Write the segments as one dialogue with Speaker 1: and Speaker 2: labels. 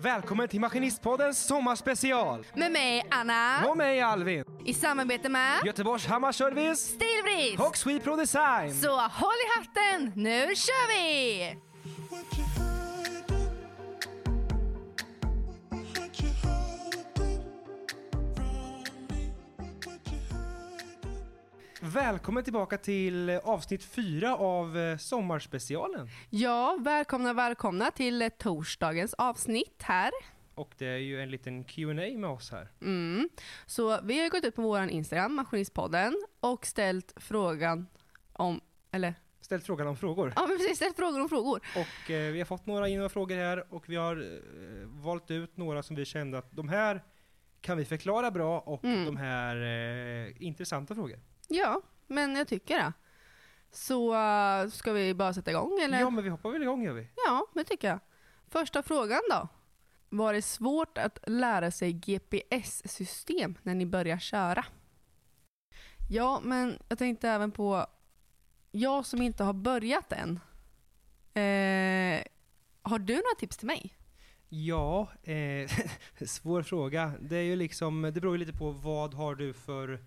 Speaker 1: Välkommen till Maskinistpoddens sommarspecial!
Speaker 2: Med mig Anna,
Speaker 1: Och mig Alvin!
Speaker 2: i samarbete med
Speaker 1: Göteborgs Hammarservice
Speaker 2: Stilbrist.
Speaker 1: och Swepro Design!
Speaker 2: Så håll i hatten, nu kör vi!
Speaker 3: What you hiding? What you hiding from me? What you hiding?
Speaker 1: Välkommen tillbaka till eh, avsnitt fyra av eh, sommarspecialen.
Speaker 2: Ja, välkomna, välkomna till eh, torsdagens avsnitt här.
Speaker 1: Och det är ju en liten Q&A med oss här.
Speaker 2: Mm. Så vi har ju gått ut på vår Instagram, Maskinistpodden, och ställt frågan om, eller
Speaker 1: Ställt frågan om frågor.
Speaker 2: ja men precis, ställt frågor om frågor.
Speaker 1: Och eh, vi har fått några in några frågor här och vi har eh, valt ut några som vi kände att de här kan vi förklara bra och
Speaker 2: Mm.
Speaker 1: de här eh, intressanta frågor.
Speaker 2: Ja, men jag tycker det. Så eh, ska vi bara sätta igång eller?
Speaker 1: Ja men vi hoppar väl igång gör vi.
Speaker 2: Ja, det tycker jag. Första frågan då. Var det svårt att lära sig GPS-system när ni börjar köra? Ja, men jag tänkte även på jag som inte har börjat än. Eh, har du några tips till mig?
Speaker 1: Ja, eh, svår fråga. Det är ju liksom, det beror ju lite på vad har du för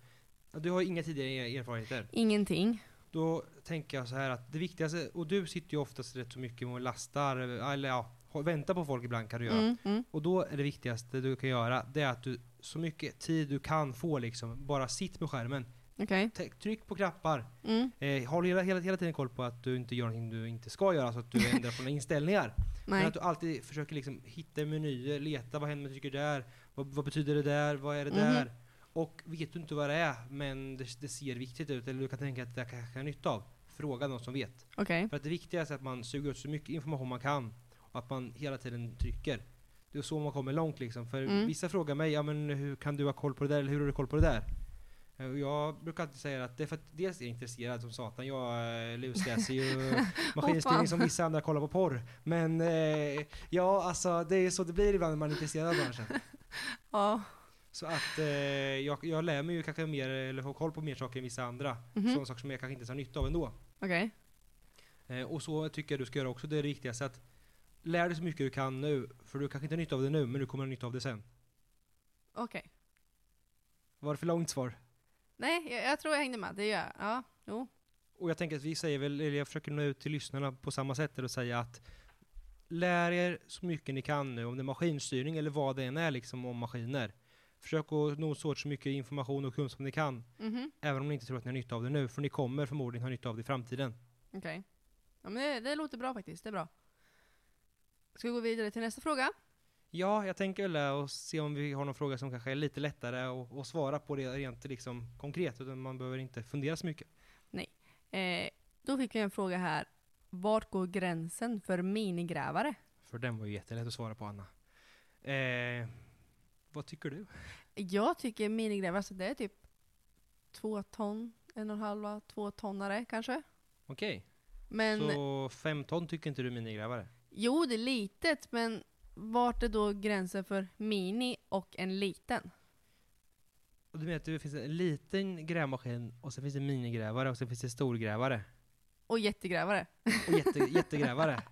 Speaker 1: du har ju inga tidigare er- erfarenheter.
Speaker 2: Ingenting.
Speaker 1: Då tänker jag så här att det viktigaste, och du sitter ju oftast rätt så mycket och lastar, eller ja, ho- väntar på folk ibland kan du göra.
Speaker 2: Mm, mm.
Speaker 1: Och då är det viktigaste du kan göra, det är att du så mycket tid du kan få liksom, bara sitt med skärmen.
Speaker 2: Okej.
Speaker 1: T- Tryck på knappar.
Speaker 2: Mm,
Speaker 1: Eh, håll hela, hela, hela tiden koll på att du inte gör någonting du inte ska göra, så att du ändrar på dina inställningar. Men
Speaker 2: nej.
Speaker 1: att du alltid försöker liksom hitta menyer, leta vad händer med tycker där, vad, vad betyder det där, vad är det
Speaker 2: Mhm.
Speaker 1: där? Och vet du inte vad det är, men det, det ser viktigt ut, eller du kan tänka att det här kanske är nytta av, fråga någon som vet.
Speaker 2: Okej.
Speaker 1: För att det viktigaste är att man suger ut så mycket information man kan, och att man hela tiden trycker. Det är så man kommer långt liksom. För
Speaker 2: Mm.
Speaker 1: vissa frågar mig, ja men hur kan du ha koll på det där, eller hur har du koll på det där? Eh, och Jag brukar alltid säga att det är för att dels är jag intresserad som satan, jag eh, lusläser ju maskinstyrning
Speaker 2: fan.
Speaker 1: som vissa andra kollar på porr. Men eh, ja, alltså det är så det blir ibland när man är intresserad av branschen.
Speaker 2: Ja.
Speaker 1: Så att eh, jag, jag lär mig ju kanske mer, eller har koll på mer saker än vissa andra.
Speaker 2: Mhm.
Speaker 1: Sådana saker som jag kanske inte ens har nytta av ändå.
Speaker 2: Okej.
Speaker 1: Eh, och så tycker jag du ska göra också, det är det viktigaste att lär dig så mycket du kan nu, för du kanske inte har nytta av det nu, men du kommer ha nytta av det sen.
Speaker 2: Okej.
Speaker 1: Var det för långt svar?
Speaker 2: Nej, jag, jag tror jag hängde med. Det gör jag. Ja. Jo.
Speaker 1: Och jag tänker att vi säger väl, eller jag försöker nå ut till lyssnarna på samma sätt och säga att lär er så mycket ni kan nu om det är maskinstyrning eller vad det än är liksom om maskiner. Försök att nosa åt så mycket information och kunskap ni kan,
Speaker 2: Mhm.
Speaker 1: även om ni inte tror att ni har nytta av det nu, för ni kommer förmodligen ha nytta av det i framtiden.
Speaker 2: Okej. Ja, men det, det låter bra faktiskt. Det är bra. Ska vi gå vidare till nästa fråga?
Speaker 1: Ja, jag tänker väl det och se om vi har någon fråga som kanske är lite lättare att att svara på det rent liksom konkret, utan man behöver inte fundera så mycket.
Speaker 2: Eh, då fick vi en fråga här. Vart går gränsen för minigrävare?
Speaker 1: För den var ju jättelätt att svara på, Anna. Eh, vad tycker du?
Speaker 2: Jag tycker minigrävare, alltså det är typ två ton, en och en halva, två tonnare kanske.
Speaker 1: Okej.
Speaker 2: Men
Speaker 1: Så 5 ton tycker inte du är minigrävare?
Speaker 2: jo, det är litet, men vart är då gränsen för mini och en liten?
Speaker 1: Och du menar att det finns en liten grävmaskin och sen finns det minigrävare och sen finns det storgrävare
Speaker 2: Och jättegrävare.
Speaker 1: och jätte, jättegrävare?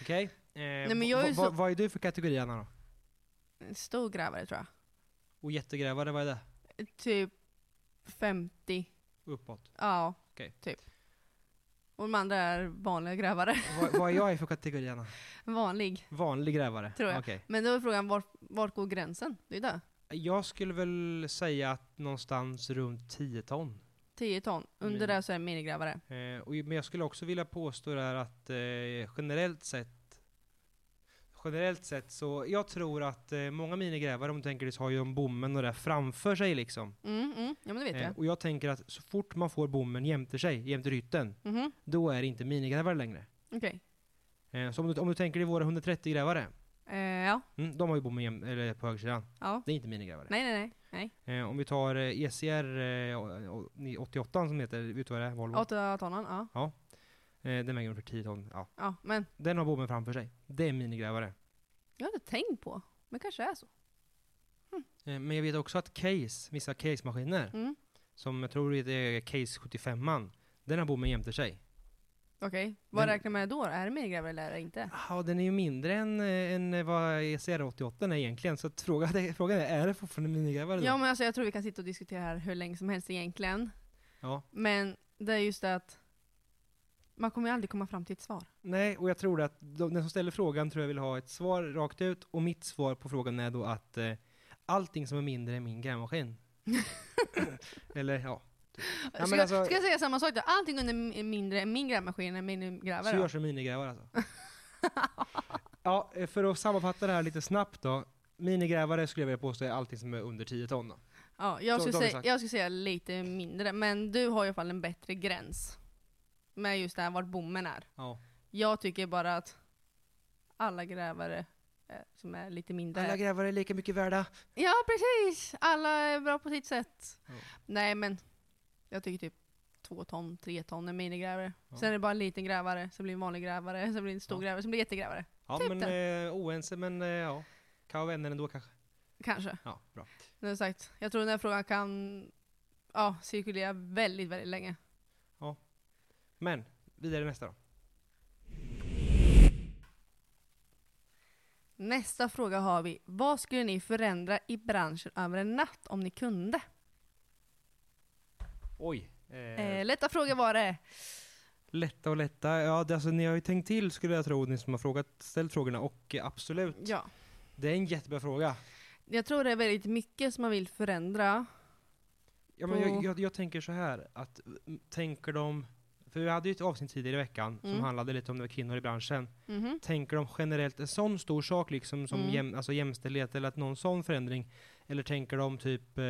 Speaker 1: Okej? Eh,
Speaker 2: Nej, men jag är
Speaker 1: va-
Speaker 2: ju
Speaker 1: va-
Speaker 2: så-
Speaker 1: Vad är du för kategori Anna då?
Speaker 2: En stor grävare tror jag.
Speaker 1: Och jättegrävare, vad är det?
Speaker 2: Typ 50,
Speaker 1: Uppåt.
Speaker 2: ja,
Speaker 1: Okej.
Speaker 2: typ. Och de andra är vanliga grävare.
Speaker 1: Vad, vad är jag i för kategori Anna?
Speaker 2: Vanlig.
Speaker 1: Vanlig grävare?
Speaker 2: Tror jag.
Speaker 1: Okej.
Speaker 2: Men då är frågan, vart, vart går gränsen? Det är det.
Speaker 1: Jag skulle väl säga att någonstans runt 10 ton.
Speaker 2: 10 ton. Under
Speaker 1: Min-
Speaker 2: det så är det minigrävare.
Speaker 1: Eh, och, men jag skulle också vilja påstå det här att eh, generellt sett Generellt sett så, jag tror att eh, många minigrävare om du tänker dig så har ju de bommen och det där framför sig liksom.
Speaker 2: Mm, mm. Ja men det vet
Speaker 1: Eh,
Speaker 2: jag.
Speaker 1: och jag tänker att så fort man får bommen jämte sig, jämte rytten,
Speaker 2: Mhm.
Speaker 1: då är det inte minigrävare längre.
Speaker 2: Okej.
Speaker 1: Eh, så om du, om du tänker dig våra 130-grävare,
Speaker 2: Eh, ja.
Speaker 1: mm, de har ju bommen jäm, eller på högersidan.
Speaker 2: ja.
Speaker 1: Det är inte minigrävare.
Speaker 2: Nej, nej, nej. nej.
Speaker 1: Eh, om vi tar eh, ECR eh, å- å- 88 som heter, vet du vad det är? Volvo?
Speaker 2: 8 tonan, ja.
Speaker 1: Eh, den väger ungefär 10 ton. Ja.
Speaker 2: ja. Men
Speaker 1: Den har bommen framför sig. Det är minigrävare.
Speaker 2: jag har inte tänkt på. Men kanske är så.
Speaker 1: Eh, Men jag vet också att Case, vissa Case-maskiner,
Speaker 2: Mm.
Speaker 1: som jag tror det är Case 75 man den har bommen jämte sig.
Speaker 2: Okej, vad
Speaker 1: Men-
Speaker 2: räknar man då? Är det mer grävare eller inte?
Speaker 1: Ja, den är ju mindre än, eh, än vad ECR88 är egentligen, så att fråga, frågan är, är det fortfarande minigrävare då?
Speaker 2: Ja men alltså jag tror vi kan sitta och diskutera här hur länge som helst egentligen.
Speaker 1: ja.
Speaker 2: Men det är just det att man kommer ju aldrig komma fram till ett svar.
Speaker 1: Nej, och jag tror att de, den som ställer frågan tror jag vill ha ett svar rakt ut, och mitt svar på frågan är då att eh, allting som är mindre är min grävmaskin. Eller ja, men
Speaker 2: ska,
Speaker 1: alltså-
Speaker 2: ska jag säga samma sak då? Allting under mi- mindre än min grävmaskin är min
Speaker 1: så
Speaker 2: grävare då?
Speaker 1: görs en minigrävare alltså. ja, eh, för att sammanfatta det här lite snabbt då. Minigrävare skulle jag vilja påstå är allting som är under 10 ton då.
Speaker 2: Ja,
Speaker 1: Så,
Speaker 2: jag,
Speaker 1: då
Speaker 2: skulle
Speaker 1: har vi
Speaker 2: säga,
Speaker 1: sagt.
Speaker 2: jag skulle säga lite mindre, men du har i alla fall en bättre gräns. Med just det här vart bommen är.
Speaker 1: Ja.
Speaker 2: Jag tycker bara att alla grävare eh, som är lite mindre.
Speaker 1: Alla grävare är lika mycket värda.
Speaker 2: ja precis! Alla är bra på sitt sätt.
Speaker 1: Ja.
Speaker 2: Nej men, jag tycker typ två ton, tre ton är minigrävare.
Speaker 1: Ja.
Speaker 2: Sen är det bara en liten grävare, sen blir det en vanlig grävare, sen blir det en stor
Speaker 1: Ja.
Speaker 2: grävare, sen blir det jättegrävare.
Speaker 1: Ja,
Speaker 2: Typ
Speaker 1: men eh, oense, men eh, ja. Kan vara vänner ändå kanske.
Speaker 2: Kanske.
Speaker 1: Ja, bra.
Speaker 2: Nu sagt, jag tror den här frågan kan ja, cirkulera väldigt, väldigt länge.
Speaker 1: Men, vidare nästa då.
Speaker 2: Nästa fråga har vi. Vad skulle ni förändra i branschen över en natt om ni kunde?
Speaker 1: Oj. eh,
Speaker 2: Eh, lätta fråga var det.
Speaker 1: Lätta och lätta. Ja, det, alltså, ni har ju tänkt till skulle jag tro, ni som har frågat, ställt frågorna. Och eh, absolut,
Speaker 2: Ja.
Speaker 1: det är en jättebra fråga.
Speaker 2: Jag tror det är väldigt mycket som man vill förändra.
Speaker 1: Ja, men
Speaker 2: Och-
Speaker 1: jag, jag, jag tänker så här, att mm, tänker de, för vi hade ju ett avsnitt tidigare i veckan som
Speaker 2: Mm.
Speaker 1: handlade lite om det var kvinnor i branschen.
Speaker 2: Mhm.
Speaker 1: Tänker de generellt en sån stor sak liksom som
Speaker 2: Mm.
Speaker 1: jäm, alltså jämställdhet eller att någon sån förändring? Eller tänker de typ eh,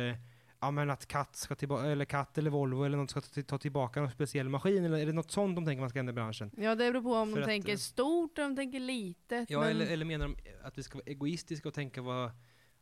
Speaker 1: ja, men att katt, ska tillba- eller katt eller Volvo eller något ska ta, ta tillbaka någon speciell maskin? Eller är det något sånt de tänker man ska ändra i branschen?
Speaker 2: Ja, det beror på om
Speaker 1: För
Speaker 2: de
Speaker 1: att,
Speaker 2: tänker
Speaker 1: eh,
Speaker 2: stort eller om de tänker litet.
Speaker 1: Ja,
Speaker 2: men
Speaker 1: eller, eller menar de att vi ska vara egoistiska och tänka vad,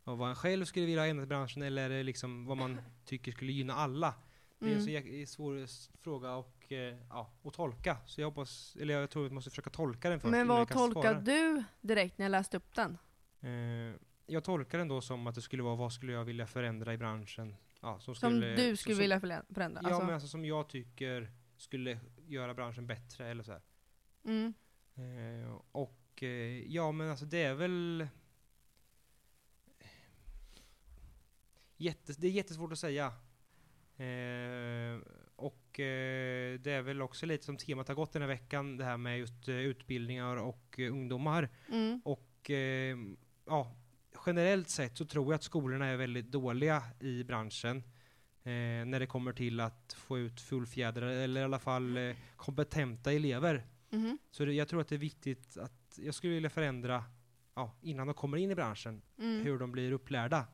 Speaker 1: vad vad en själv skulle vilja ha ändrat i branschen eller är det liksom vad man tycker skulle gynna alla? Det är en
Speaker 2: Mm.
Speaker 1: så jäk- svår s- fråga och, eh, ja, att tolka. Så jag hoppas, eller jag tror att vi måste försöka tolka den först.
Speaker 2: men
Speaker 1: innan jag
Speaker 2: vad
Speaker 1: kan
Speaker 2: tolkar
Speaker 1: svara.
Speaker 2: du direkt när jag läste upp den?
Speaker 1: Eh, jag tolkar den då som att det skulle vara vad skulle jag vilja förändra i branschen? Ja, som
Speaker 2: Som
Speaker 1: skulle,
Speaker 2: du
Speaker 1: så-
Speaker 2: skulle
Speaker 1: som,
Speaker 2: vilja förlä- förändra?
Speaker 1: Ja,
Speaker 2: alltså.
Speaker 1: men alltså som jag tycker skulle göra branschen bättre eller så här.
Speaker 2: mm.
Speaker 1: Eh, och eh, ja, men alltså det är väl... Jättes det är jättesvårt att säga. Eh, och eh, det är väl också lite som temat har gått den här veckan, det här med just eh, utbildningar och eh, ungdomar.
Speaker 2: Mm.
Speaker 1: Och eh, ja, generellt sett så tror jag att skolorna är väldigt dåliga i branschen. Eh, när det kommer till att få ut fullfjädrade, eller i alla fall eh, kompetenta elever.
Speaker 2: Mhm.
Speaker 1: Så det, jag tror att det är viktigt att jag skulle vilja förändra ja, innan de kommer in i branschen,
Speaker 2: Mm.
Speaker 1: hur de blir upplärda.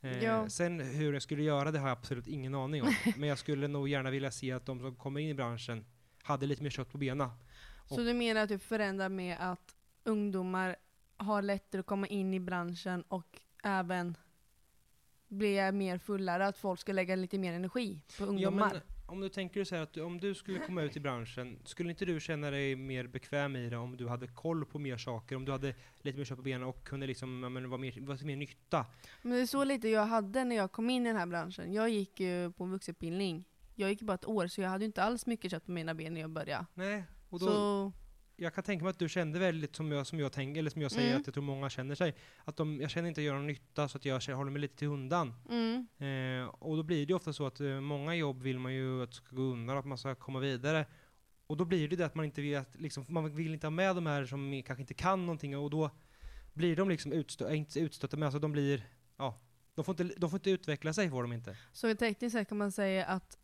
Speaker 1: Eh,
Speaker 2: Ja.
Speaker 1: Sen hur jag skulle göra det har jag absolut ingen aning om. Men jag skulle nog gärna vilja se att de som kommer in i branschen hade lite mer kött på benen.
Speaker 2: Så du menar att du förändrar med att ungdomar har lättare att komma in i branschen och även bli mer fullare, att folk ska lägga lite mer energi på
Speaker 1: Ja,
Speaker 2: ungdomar?
Speaker 1: men om du tänker så här att du, om du skulle komma ut i branschen, skulle inte du känna dig mer bekväm i det om du hade koll på mer saker? Om du hade lite mer kött på benen och kunde liksom, ja, men, vara mer, vara till mer nytta?
Speaker 2: Men det är så lite jag hade när jag kom in i den här branschen. Jag gick ju på en vuxenutbildning. Jag gick ju bara ett år, så jag hade ju inte alls mycket kött på mina ben när jag började.
Speaker 1: Nej, och då,
Speaker 2: så,
Speaker 1: jag kan tänka mig att du kände väldigt som jag, som jag tänker, eller som jag säger
Speaker 2: Mm.
Speaker 1: att jag tror många känner sig. Att de, jag känner inte att jag gör någon nytta så att jag känner- håller mig lite till undan.
Speaker 2: mm,
Speaker 1: Eh, och då blir det ju ofta så att eh, många jobb vill man ju att ska gå undan, att man ska komma vidare. Och då blir det det att man inte vill, att, liksom, man vill inte ha med de här som kanske inte kan någonting och då blir de liksom utstö- äh, inte utstötta, men alltså de blir, ja, de får inte, de får inte utveckla sig får de inte.
Speaker 2: så tekniskt sett kan man säga att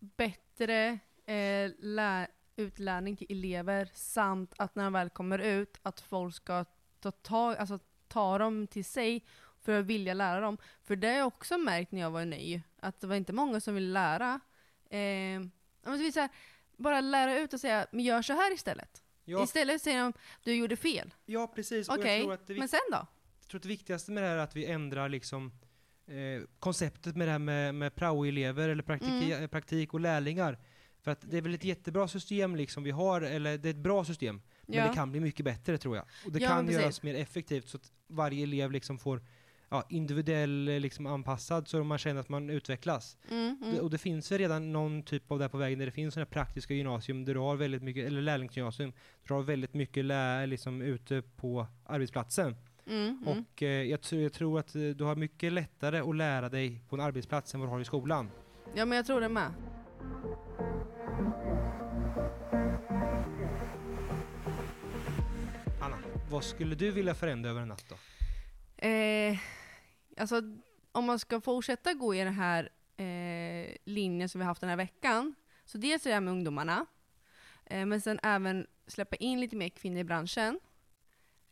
Speaker 2: bättre eh, lä- utlärning till elever samt att när de väl kommer ut, att folk ska ta, tag, alltså, ta dem till sig för att vilja lära dem. För det har jag också märkt när jag var ny, att det var inte många som ville lära. Eh, ja, men så vill säga, bara lära ut och säga, men gör så här istället.
Speaker 1: Ja,
Speaker 2: Istället säger de du gjorde fel.
Speaker 1: ja precis. Och jag
Speaker 2: Okej,
Speaker 1: tror att det är
Speaker 2: men sen då?
Speaker 1: jag tror att det viktigaste med det här är att vi ändrar liksom eh, konceptet med det här med, med prao-elever eller praktik,
Speaker 2: Mm.
Speaker 1: eh, praktik och lärlingar. För att det är väl ett jättebra system liksom vi har, eller det är ett bra system, men det kan bli mycket bättre tror jag. Och det
Speaker 2: Ja,
Speaker 1: kan
Speaker 2: men precis.
Speaker 1: göras mer effektivt så att varje elev liksom får ja, individuell eh, liksom anpassad så man känner att man utvecklas.
Speaker 2: Mm,
Speaker 1: Det,
Speaker 2: mm.
Speaker 1: och det finns ju redan någon typ av det här på vägen där det finns sådana här praktiska gymnasium där du har väldigt mycket, eller lärlingsgymnasium, där du har väldigt mycket lä, liksom ute på arbetsplatsen.
Speaker 2: Mm, mm.
Speaker 1: Och eh, jag, tr- jag tror att eh, du har mycket lättare att lära dig på en arbetsplats än vad du har i skolan.
Speaker 2: Ja, men jag tror det med.
Speaker 1: Anna, vad skulle du vilja förändra över en natt då?
Speaker 2: Eh, alltså, om man ska fortsätta gå i den här eh, linjen som vi haft den här veckan, så dels är det här med ungdomarna, eh, men sen även släppa in lite mer kvinnor i branschen.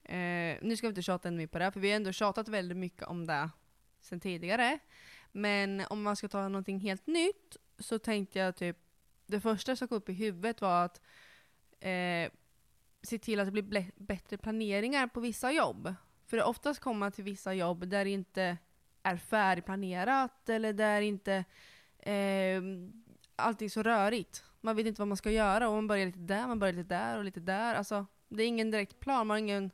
Speaker 2: Eh, nu ska vi inte tjata ännu mer på det, här, för vi har ändå tjatat väldigt mycket om det sen tidigare. Men om man ska ta någonting helt nytt, så tänkte jag typ, det första som kom upp i huvudet var att eh, se till att det blir ble- bättre planeringar på vissa jobb. För det oftast kommer man till vissa jobb där det inte är färdigplanerat eller där inte eh, allt är så rörigt. Man vet inte vad man ska göra och man börjar lite där, man börjar lite där och lite där. Alltså, det är ingen direkt plan, man har ingen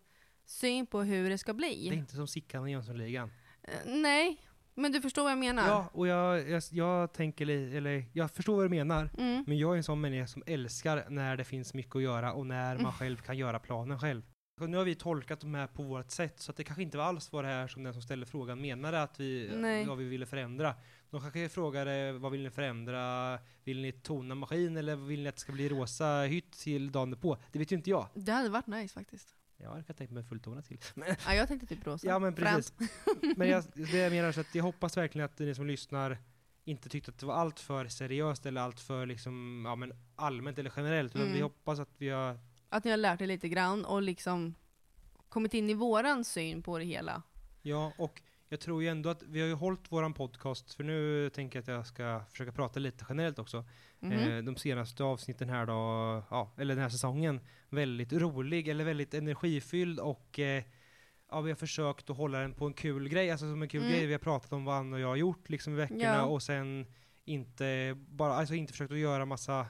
Speaker 2: syn på hur det ska bli.
Speaker 1: Det är inte som Sickan och Jönssonligan.
Speaker 2: Eh, Nej, men du förstår vad jag menar?
Speaker 1: Ja, och jag, jag, jag tänker, li- eller jag förstår vad du menar.
Speaker 2: Mm.
Speaker 1: Men jag är en sån människa som älskar när det finns mycket att göra och när man själv kan göra planen själv. Och nu har vi tolkat de här på vårt sätt så att det kanske inte var alls var det här som den som ställde frågan menade att vi,
Speaker 2: Nej.
Speaker 1: vad vi ville förändra. De kanske frågade vad vill ni förändra? Vill ni tona maskin eller vill ni att det ska bli rosa hytt till dagen på? Det vet ju inte jag.
Speaker 2: Det hade varit nice faktiskt.
Speaker 1: Jag hade kunnat tänkt mig fulltonat till.
Speaker 2: Ja, jag tänkte typ rosa.
Speaker 1: Ja men
Speaker 2: Fränt.
Speaker 1: precis. Men jag, det jag menar så att jag hoppas verkligen att ni som lyssnar inte tyckte att det var allt för seriöst eller allt för liksom, ja, men allmänt eller generellt. Utan
Speaker 2: Mm.
Speaker 1: vi hoppas att vi har
Speaker 2: Att ni har lärt er lite grann och liksom kommit in i våran syn på det hela.
Speaker 1: Ja, och jag tror ju ändå att vi har ju hållit våran podcast, för nu tänker jag att jag ska försöka prata lite generellt också.
Speaker 2: Mhm.
Speaker 1: Eh, de senaste avsnitten här då, ja, eller den här säsongen, väldigt rolig eller väldigt energifylld och eh, ja, vi har försökt att hålla den på en kul grej, alltså som en kul
Speaker 2: Mm.
Speaker 1: grej. Vi har pratat om vad Anna och jag har gjort liksom i veckorna
Speaker 2: Ja.
Speaker 1: och sen inte bara, alltså inte försökt att göra massa,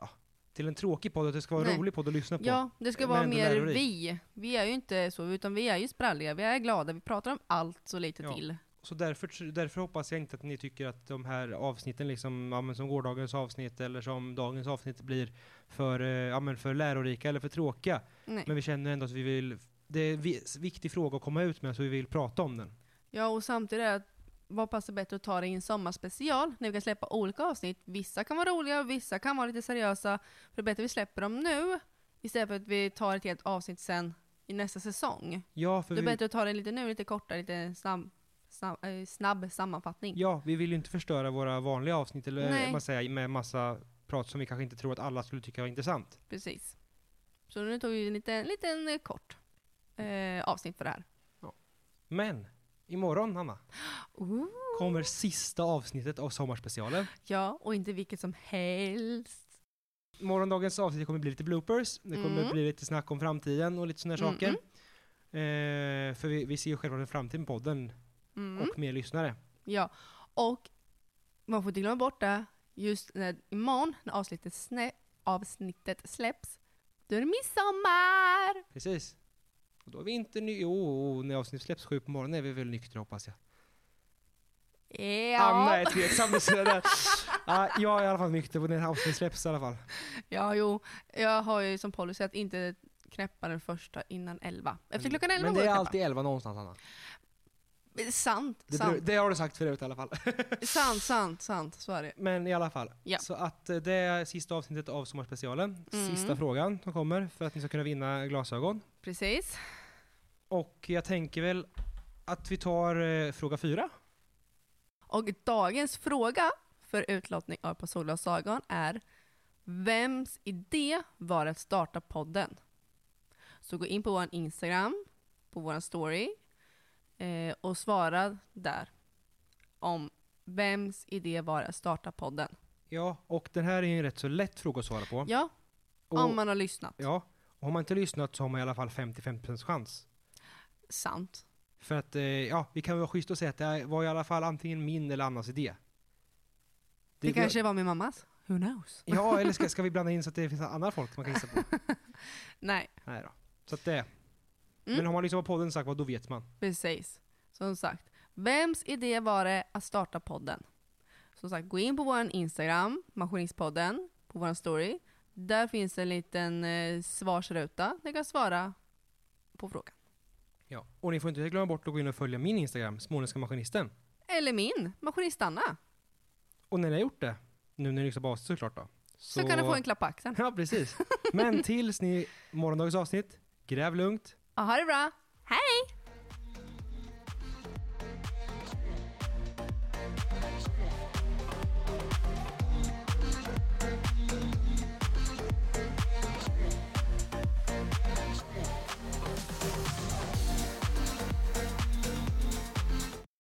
Speaker 1: ja, till en tråkig podd, att det ska vara en
Speaker 2: Nej.
Speaker 1: rolig podd att lyssna på.
Speaker 2: Ja, det ska
Speaker 1: Men
Speaker 2: vara
Speaker 1: ändå
Speaker 2: mer
Speaker 1: lärorik.
Speaker 2: vi. Vi är ju inte så, utan vi är ju spralliga, vi är glada, vi pratar om allt så lite
Speaker 1: Ja.
Speaker 2: till.
Speaker 1: Så därför, därför hoppas jag inte att ni tycker att de här avsnitten, liksom, ja, men som gårdagens avsnitt eller som dagens avsnitt blir för, eh, ja, men för lärorika eller för tråkiga.
Speaker 2: Nej.
Speaker 1: Men vi känner ändå att vi vill, det är en vi- viktig fråga att komma ut med så vi vill prata om den.
Speaker 2: Ja, och samtidigt är det, vad passar bättre att ta det i en sommarspecial, när vi kan släppa olika avsnitt. Vissa kan vara roliga, och vissa kan vara lite seriösa. För det är bättre att vi släpper dem nu, istället för att vi tar ett helt avsnitt sen i nästa säsong.
Speaker 1: Ja, för
Speaker 2: det är
Speaker 1: vi,
Speaker 2: bättre att ta det lite nu, lite kortare, lite snabb, snabb, eh, snabb sammanfattning.
Speaker 1: ja, vi vill ju inte förstöra våra vanliga avsnitt eller eh,
Speaker 2: Nej.
Speaker 1: man säger, med massa prat som vi kanske inte tror att alla skulle tycka var intressant.
Speaker 2: Precis. Så nu tog vi en liten, liten eh, kort eh, avsnitt för det här.
Speaker 1: Men imorgon, Hanna, kommer sista avsnittet av Sommarspecialen.
Speaker 2: Ja, och inte vilket som helst.
Speaker 1: Morgondagens avsnitt kommer bli lite bloopers, det kommer
Speaker 2: Mm.
Speaker 1: bli lite snack om framtiden och lite sådana
Speaker 2: Mm,
Speaker 1: saker. Eh, för vi, vi ser ju självklart en framtid med podden
Speaker 2: Mm.
Speaker 1: och mer lyssnare.
Speaker 2: Ja, och man får inte glömma bort det, just när, imorgon när avsnittet, snä, avsnittet släpps, då är det midsommar!
Speaker 1: Precis. Och då är vi inte ny... Jo, när avsnittet släpps sju på morgonen är vi väl nyktra hoppas jag.
Speaker 2: Ja,
Speaker 1: Anna är tveksam till sådär. Ah, jag är i alla fall nykter på när avsnittet släpps i alla fall.
Speaker 2: ja jo, jag har ju som policy att inte knäppa den första innan elva. Efter
Speaker 1: Men-
Speaker 2: klockan elva
Speaker 1: Mm. Men
Speaker 2: går
Speaker 1: det är
Speaker 2: jag
Speaker 1: alltid elva någonstans Anna.
Speaker 2: knäppa. Sant,
Speaker 1: Det, beror,
Speaker 2: sant,
Speaker 1: det har du sagt förut i alla fall.
Speaker 2: sant, sant, sant, så är det.
Speaker 1: Men i alla fall.
Speaker 2: Ja.
Speaker 1: Så att eh, det är sista avsnittet av Sommarspecialen.
Speaker 2: Mm.
Speaker 1: Sista frågan som kommer för att ni ska kunna vinna glasögon.
Speaker 2: Precis.
Speaker 1: Och jag tänker väl att vi tar eh, fråga fyra.
Speaker 2: Och dagens fråga för utlottning av På solglasögon är Vems idé var att starta podden? Så gå in på vår Instagram, på vår story eh, och svara där om vems idé var att starta podden.
Speaker 1: Ja, och den här är ju en rätt så lätt fråga att svara på.
Speaker 2: Ja,
Speaker 1: och,
Speaker 2: om man har lyssnat.
Speaker 1: ja, och har man inte lyssnat så har man i alla fall 50-50% chans.
Speaker 2: Sant.
Speaker 1: För att, eh, ja, vi kan vara schysst och säga att det här var i alla fall antingen min eller Annas idé.
Speaker 2: Det, kanske var min mammas. Who knows?
Speaker 1: Ja, eller ska, ska vi blanda in så att det finns andra folk man kan gissa på?
Speaker 2: Nej,
Speaker 1: Nej då. Så att eh. det.
Speaker 2: Mm.
Speaker 1: liksom Men har man lyssnat på podden sagt vad, då vet man.
Speaker 2: precis. Så Som sagt, vems idé var det att starta podden? Som sagt, gå in på vår Instagram, Maskinistpodden, på vår story. Där finns en liten eh, svarsruta där du kan svara på frågan.
Speaker 1: Ja. Och ni får inte glömma bort att gå in och följa min Instagram, Småländska Maskinisten.
Speaker 2: Eller min, Maskinist-Anna.
Speaker 1: Och när ni har gjort det, nu när ni lyssnar på avsnittet såklart då.
Speaker 2: Så... kan du få en klapp på axeln.
Speaker 1: Ja, precis. Men tills ni, morgondagens avsnitt, gräv lugnt.
Speaker 2: Ja, ha det bra! Hej!